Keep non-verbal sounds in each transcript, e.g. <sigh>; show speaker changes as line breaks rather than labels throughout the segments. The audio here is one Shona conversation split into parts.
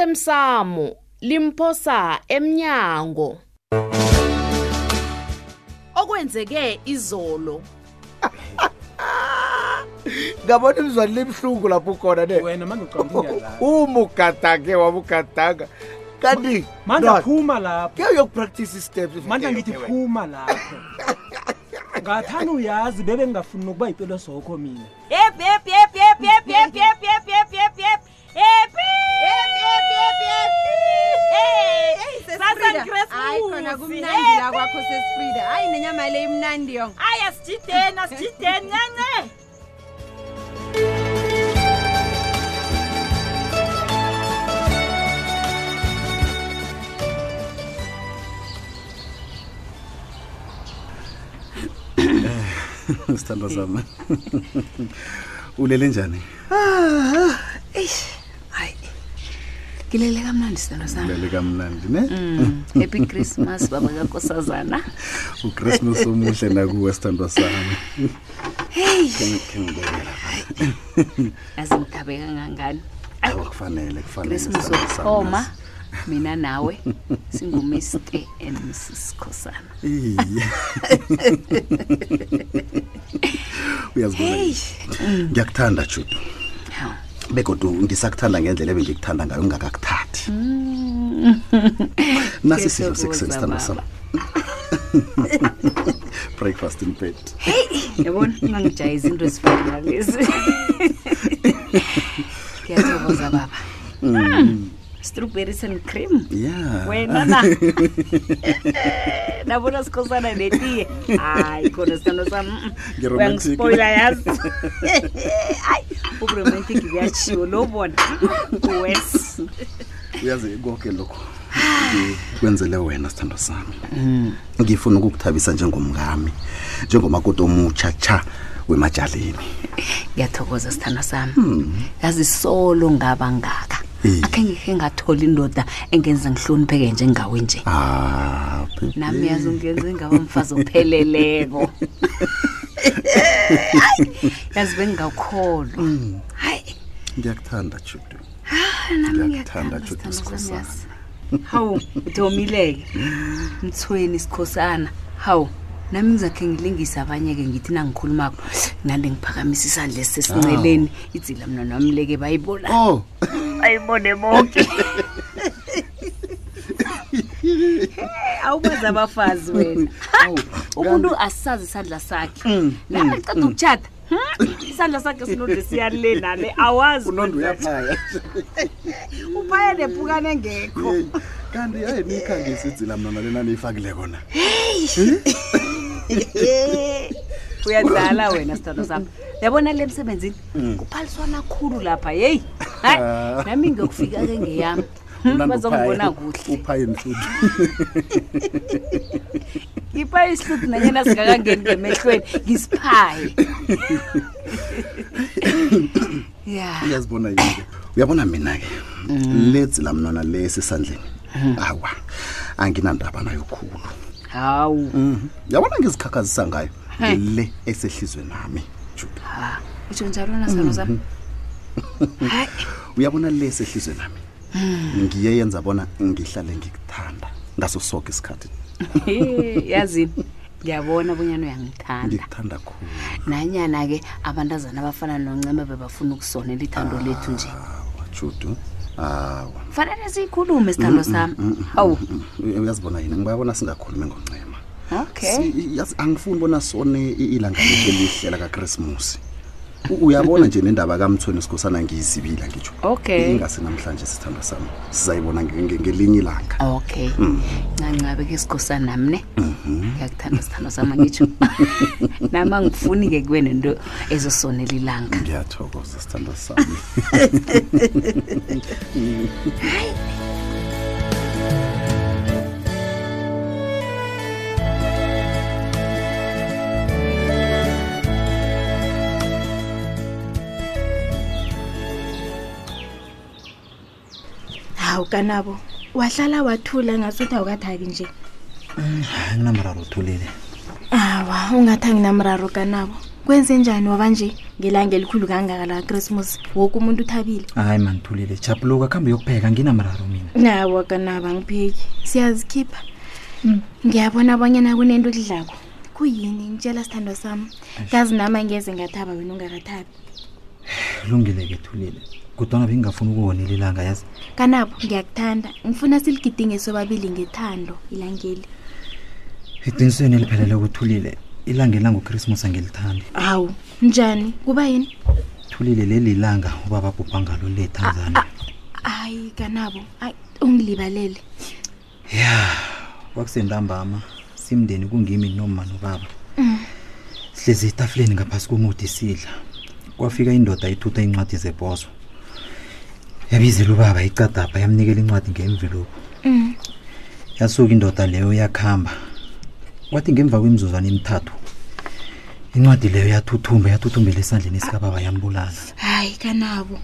osemsamo limphosa emnyango okwenzeke izolo
ngabona imzwane libuhlungu lapho ukhona ne
wena mangiqonda
<laughs>
ingala
umugadake wabugadanga kanti
mandla phuma lapho
ke uyokupractice isteps
mandla ngithi phuma lapho ngathanda uyazi bebe ngingafuni ukuba yipelo sokho mina
Yep, yep, yep, yep, yep, yep, yep, yep, yep, yep, yep. Yep, yep, yep, yep, yep. Hey,
Hey, Sis
Sasa
Frida.
Grace
Hayi, khona
Musi.
kumnandi
Eh,
la kwakho sesifrida hayi nenyama le imnandi yonga
Hayi asijideni, asijideni nene.
sithando sami ulele njani
Ah, hayi ngilele kamnandi sithando sami
ulele kamnandi ne
Mm, happy christmas baba kankosazana
uchristmas omuhle nakuwe sithandwa sami
heyi
Khe ngibekela.
yazi ngithabe kangangani
Awa, kufanele kufanele
christmas
sithandwa sami,
okuthoma
nasi.
mina nawe singumr and mrs khosana
Iye. uyazibona
heyi
ngiyakuthanda judu
Hawu.
begodwa ngisakuthanda ngendlela ebengikuthanda ngayo ngingakakuthathi nasi isidlo
Ngiyathokoza,
sekuseni sithandwa sami <laughs> breakfast in bed
yabona ungangijayiza into ezifana nalezi ngiyathokoza baba Mm, strawberries and cream
ya
wena na nabona sikhosana netiye hayi khona sithando sam
Ngi-romantic.
uyangispoila yazi hayi uburomantic kuyatshiwo lo bona wes
uyazi konke lokho ngikwenzele wena sithando sami ngifuna ukukuthabisa njengomngami njengomakoti omutsha tsha wemajaleni
ngiyathokoza sithando sami yazi solo ngaba ngaka
Eh.
akhe ngikhe ngathola indoda engenza ngihlonipheke njengawe nje
ah baby.
nami yazi ungenze ngaba mfazi opheleleko Hayi, yazi bengingakholwa hayi
ngiyakuthanda judu
nami ngiyakuthanda
Ngiyakuthanda, Judy
sithandwa sami,
Skhosana.
yazi. hawu uthomile-ke mthweni sikhosana hawu nami ngizakhe ngilingise abanye-ke ngithi nangikhulumako nande ngiphakamisa isandla esisesinceleni idzila mna nami-leke bayibona
oh
ayibone bonke awukwazi abafazi wena
Awu, Mm,
umuntu asisazi isandla sakhe laa ceda ukutshata isandla sakhe sinode siyale nale awazi
unondo uyaphaya
uphaya nephukane ngekho
Yeyi, kanti yaye niyikhangisidzila mna nale naniyifakile kona
uyadlala wena sithando sami yabona le msebenzini kuphaliswana khulu lapha yeyi hayi
Mm. Ah.
nami ngiyokufika ke ngeyami Hmm, bazongibona kuhle
uphaye mhludu
ngiphaye isihluthi nanyena singakangeni ngemehlweni ngisiphaye ya
uyazibona yini uyabona mina-ke
Hmm.
ledzila mnana lesi esandleni awa anginandaba nayo khulu
hawu
yabona ngizikhakhazisa ngayo
Hmm.
le esehlizwe nami Judy.
Ha, utsho njalo na sithando sami hayi
uyabona le esehlizwe nami
Hmm.
ngiye yenza bona ngihlale ngikuthanda ngaso soke isikhathi
Eh, yazini ngiyabona bonyana uyangithanda
ngikuthanda khulu
nanyana-ke abantazana abafana noncema bebafuna ukusonela ithando lethu nje
awa judu awa
fanele siyikhulume sithando sami hawu
Uy- uyazibona yini ngibabona singakhulumi ngoncema
okay
Si- yazi angifuni bona sone i- ilanga lethu elihle lakakrismusi U- uyabona nje nendaba kamthweni sikhosana ngiyizibila ngitsho
okay
ingase namhlanje sithandwa sami sizayibona nge- nge- ngelinye ilanga
okay ncancabe ke sigosa nami ne ngiyakuthanda sithando sami angitsho nami angifuni-ke kube nento ezosonela ilanga
ngiyathokoza sithandwa sami
hawu kanabo wahlala wathula ngasuthi awukathabi nje
anginamraro uthulile
awa ungathi anginamraro kanabo kwenze njani waba nje ngelanga elikhulu kangaka la christmas woke umuntu uthabile
hayi manithulile jabuloku akuhambe yokupheka nginamraro mina
nawo kanaba ngipheki siyazikhipha ngiyabona bonyana kunento okudlako kuyini ngitshela sithando sami kazi nami angeze ngathaba wena ungakathabi
kulungile-ke thulile kudwana bengingafuni ukuwonela ilanga yazi
kanabo ngiyakuthanda ngifuna siligidinge sobabili ngethando ilangeli
eqinisweni eliphelele kuthulile ilanga elangokrisimusi angilithandi
hawu njani kuba yini
thulile leli ilanga ubaba bhubha ngalo le tanzania
hayi kanabo ayi ungilibalele
ya kwakusentambama simndeni kungimi noma nobaba sihlezi etafuleni ngaphasi komudi sidla kwafika indoda ithutha incwadi zebhozo yabizela ubaba icadapha yamnikela incwadi ngemviluphu yasuka indoda leyo yakuhamba kwathi ngemva kwemizuzwana emithathu incwadi leyo yathuthumba yathuthumbela esandleni sikababa yambulala
hayi kanabo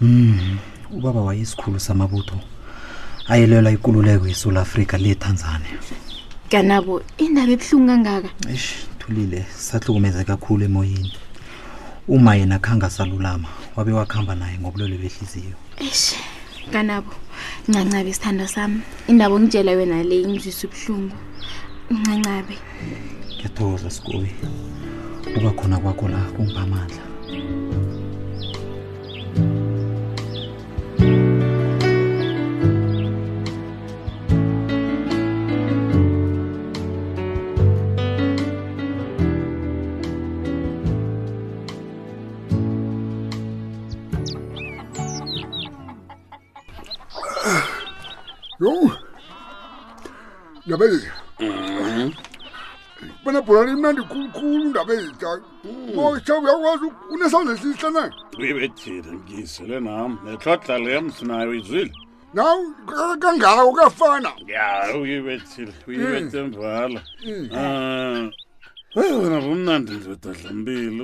Mm. ubaba wayesikhulu samabutho ayelwela ikululeko yeSouth Africa le Tanzania
kanabo indaba ebuhlungu kangaka
eish thulile sahlukumeze kakhulu emoyeni uma yena khanga salulama wabe wakhamba naye ngobulwelwe behliziyo
esh kanabo ncancabe isithando sami indaba ongitshela yona le ingizwisa ubuhlungu ncancabe
ngiyathokoza sikobi uba khona kwakho la kungipha amandla
yo ndaba ezitha
Mhm.
bona bhola limnandi khulukhulu ndaba ezitha
Mhm.
mosha uyakwazi uk- unesandla esihle na
uyibethile ngiyisele nam netlodla lems nayo izwile
naw ka- kangako kuyafana
ya uyibethile uyibethe mvala
Ah,
um wena kumnandi ndodadlambili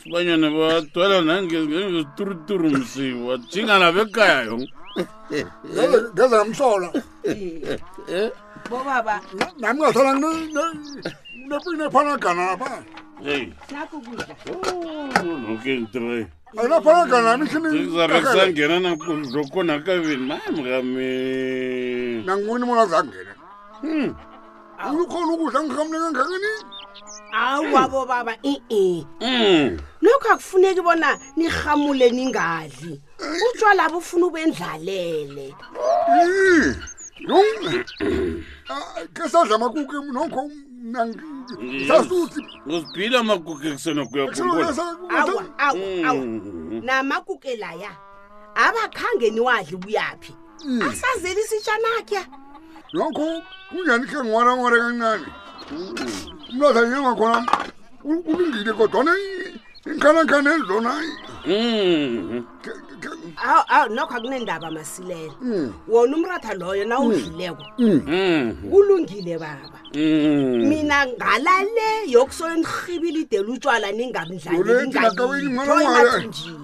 sibanyane badwela nangezituruturu msiku wajingana bekaya yo
Ngeze- ngeze ngamhlola
¿Eh?
bobaba
Na- nami ngahlala ngine- ne- ne- nephanagana lapha
eyi
nakho kudla
Oh,
nokentre
ayinaphanagana nami
sizabe kusangena nakuzokhona kavini mamrame
nanguni mona zangena ukhona ukudla ngihamleke ngangenini
awa bobaba i-e lokho akufuneki bona nihamule ningadli utshwala bufuna ubendlalele
ke sadla amakuke nokho sasuthi
uzibhila amagugu ekusenokuyakhumbulanamhlanje
awa awa awa namakuke laya abakhange niwadli buyaphi asazeli isitshanakya
nokho kunjani khe ngiwanawara kancane umnatha yenyanga khona u- ulungile kodwana inkanankane zona
Mm-hmm.
awu awu nokho akunendaba masilela wona umratha loyo nawudlileko kulungile baba mina ngalale yokusole nirhibile idela utshwala
Yole, ndingakaweli, mwana wala.
ningamdlalingaiemathunjini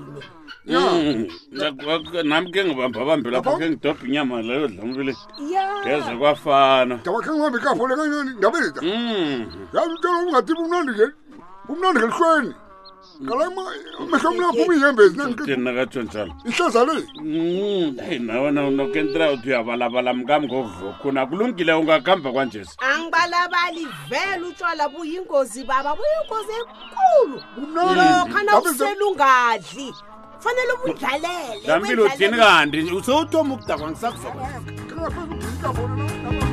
Oh.
Mm-hmm. nami ke ngibamba bambe lapho
Lapho?
ke ngidobha inyama leyo dlamubile
ya
ngeze kwafana
ndaba khe ngihambe ikafole kancane ndaba ezita
Mm.
yazi utshela ungathibi umnandi nge- umnandi ngelihlweni ngala amehlo mlaphuma iyembezi
kutheni nakatsho njalo
ihlaza le
Mm, eyi nawe nokentra uthi uyabalabala mkami ngokuvukhuna kulungile ungakuhamba kwanjesi
angibalabali vele utshwala buyingozi baba buyingozi enkulu
kumnandi Ndaba
lokha
ezita-
nawuselungadli fanele ubudlalele
dlamubile uthini
wedlalele.
kanti usewuthoma ukudakwa ngisakuzoba
kengafeza ukugcina ikafole ndaba ezita.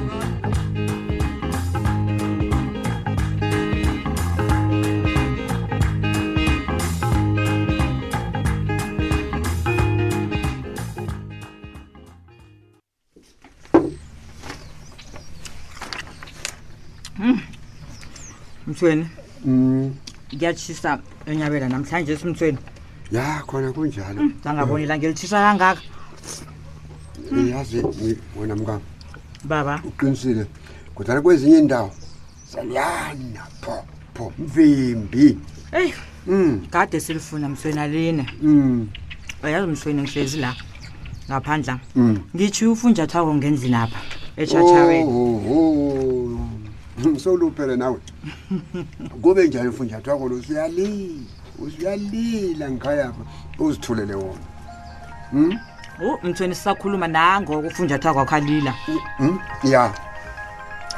mthweni
Mm.
ngiyatshisa enyabela namhlanje simthweni
ya khona kunjalo
sangabona ilanga elitshisa kangaka
iyazi mi- wena mkami
baba
uqinisile kodwana kwezinye indawo saliyana pho pho mvimbi
eyi
Mm.
kade silifuna mthweni aline uyazi mthweni ngihlezi la ngaphandla
Mm.
ngitshiye ufunjathwako ngendlini apha etshatshaweni
Oh, <laughs> oh, oh. sowuluphele nawe kube njani mfunjathwako lo usuyalila usuyalila ngikhayapha uzithulele wona um
u mthweni Oh, sisakhuluma nangoko ufunjathwa kwakho alila
Hmm? ya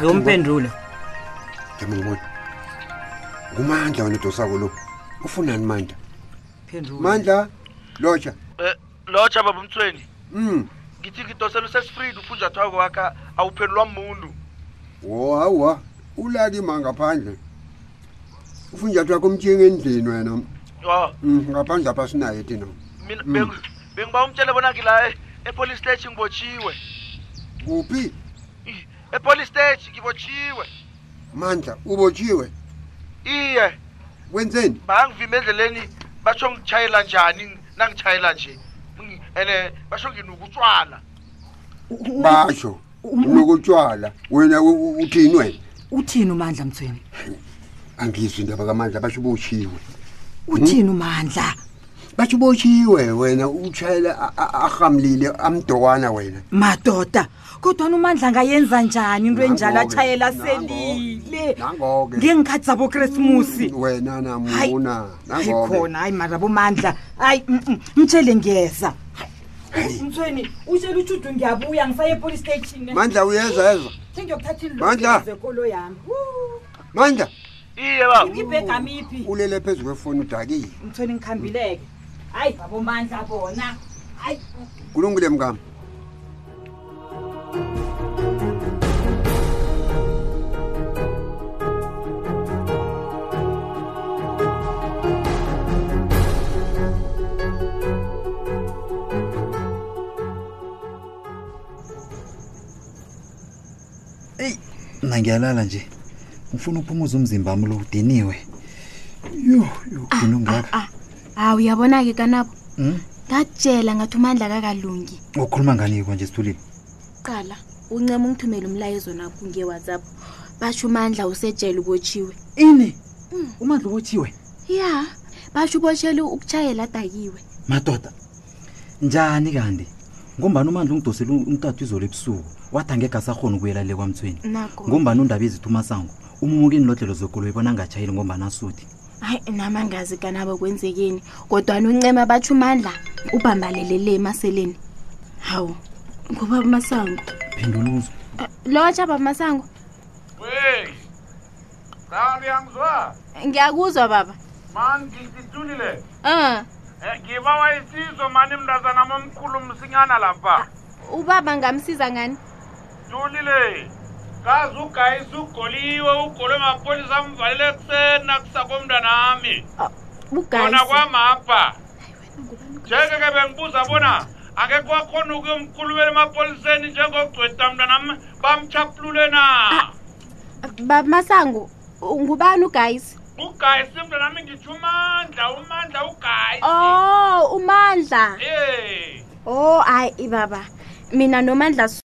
yompendule
jama ngibona ngumandla wena udosako lo ufunani mandla mandla lotsha
Eh, lotsha baba umthweni
um
ngithi ngidosela usesifrida ufunjathwako wakha awuphendulwa muntu
wo hawa ulali ma ngaphandle ufunjathwakho umtshinga endlini wena
o
Mm, ngaphandle apha sinaye thina
mina
Mm.
bengi- bengiba umtshele bona ngila e- epolice station ngibotshiwe
kuphi
epolice station ngibotshiwe
mandla ubotshiwe
iye
wenzeni
bangivime endleleni basho ngitshayela njani nangitshayela nje Ngi- ene basho nginukutshwala
basho
Um-
unokutshwala wena u- u- uthini wena
uthini umandla mthweni
angizwi indaba kamandla basho ubotshiwe
uthini umandla
basho ubotshiwe wena utshayela a- a- arhamlile amdokwana wena
madoda kodwana umandla angayenza njani into enjalo
Nangoke,
atshayela selile
nangoke
ngeenkhathi zabokresmusi
wena
Hayi.
namuna
hayi
nangoke
khona hayi mara bomandla hayi mtshele ngeza mthweni utshele utshudu ngiyabuya ngisaye epolice station
mandla uyeza yeza
sengiyokuthatha
Mandla.
ilokolo yami
mandla
iye
ibhegami iphi
ulele phezu kwefoni udakile
mthweni ngikhambileke hayi babomandla bona hayi
kulungile mngam
mna ngiyalala nje ngifuna uphumuza umzimba wami lo udiniwe yo yo udinwe ngaka
Ah, hawu uyabona-ke kanabo
Mm?
ngatshela ngathi umandla kakalungi
ukhuluma ngani kwanje sithulile
qala uncema ungithumele umlayezo nakho ngewhatsapp basho umandla usejele ubotshiwe
ini umandla ubotshiwe
ya basho ubotshele ukutshayela adakiwe
madoda njani kanti ngombani umandla ungidosele umtata izolo ebusuku wathi angekhe asakhona ukuyela le kwamthweni
nako
ngombani undaba ezithu umasango umumuka inilodlelo zokolo ibona angatshayeli ngombani asuthi
hayi nama ngazi kanabo kwenzekeni kodwana uncema batsho umandla ubhambalelele emaseleni hawu ngubaba masango
phenduluzo
lotsha baba masango
we kanti yangizwa
ngiyakuzwa baba
mani ngisithulile
um
Eh, ngibawa isizo mani mntazana momkhulu msinyana lapha
ubaba ngamsiza ngani
thulile kazi ugayisa ugoliwe ugolwe mapolisa amvalele ekuseni akusakomntanami kona kwamapha njeke ke bengibuza bona angeke wakhona ukuyomkhulumela emapoliseni njengogcweta mntanami bamchaphulule na
baba masango ngubani ugayisi
ugayisi mntanami ngitsho umandla umandla ugayisi
oh umandla
Eh.
oh hayi baba mina nomandla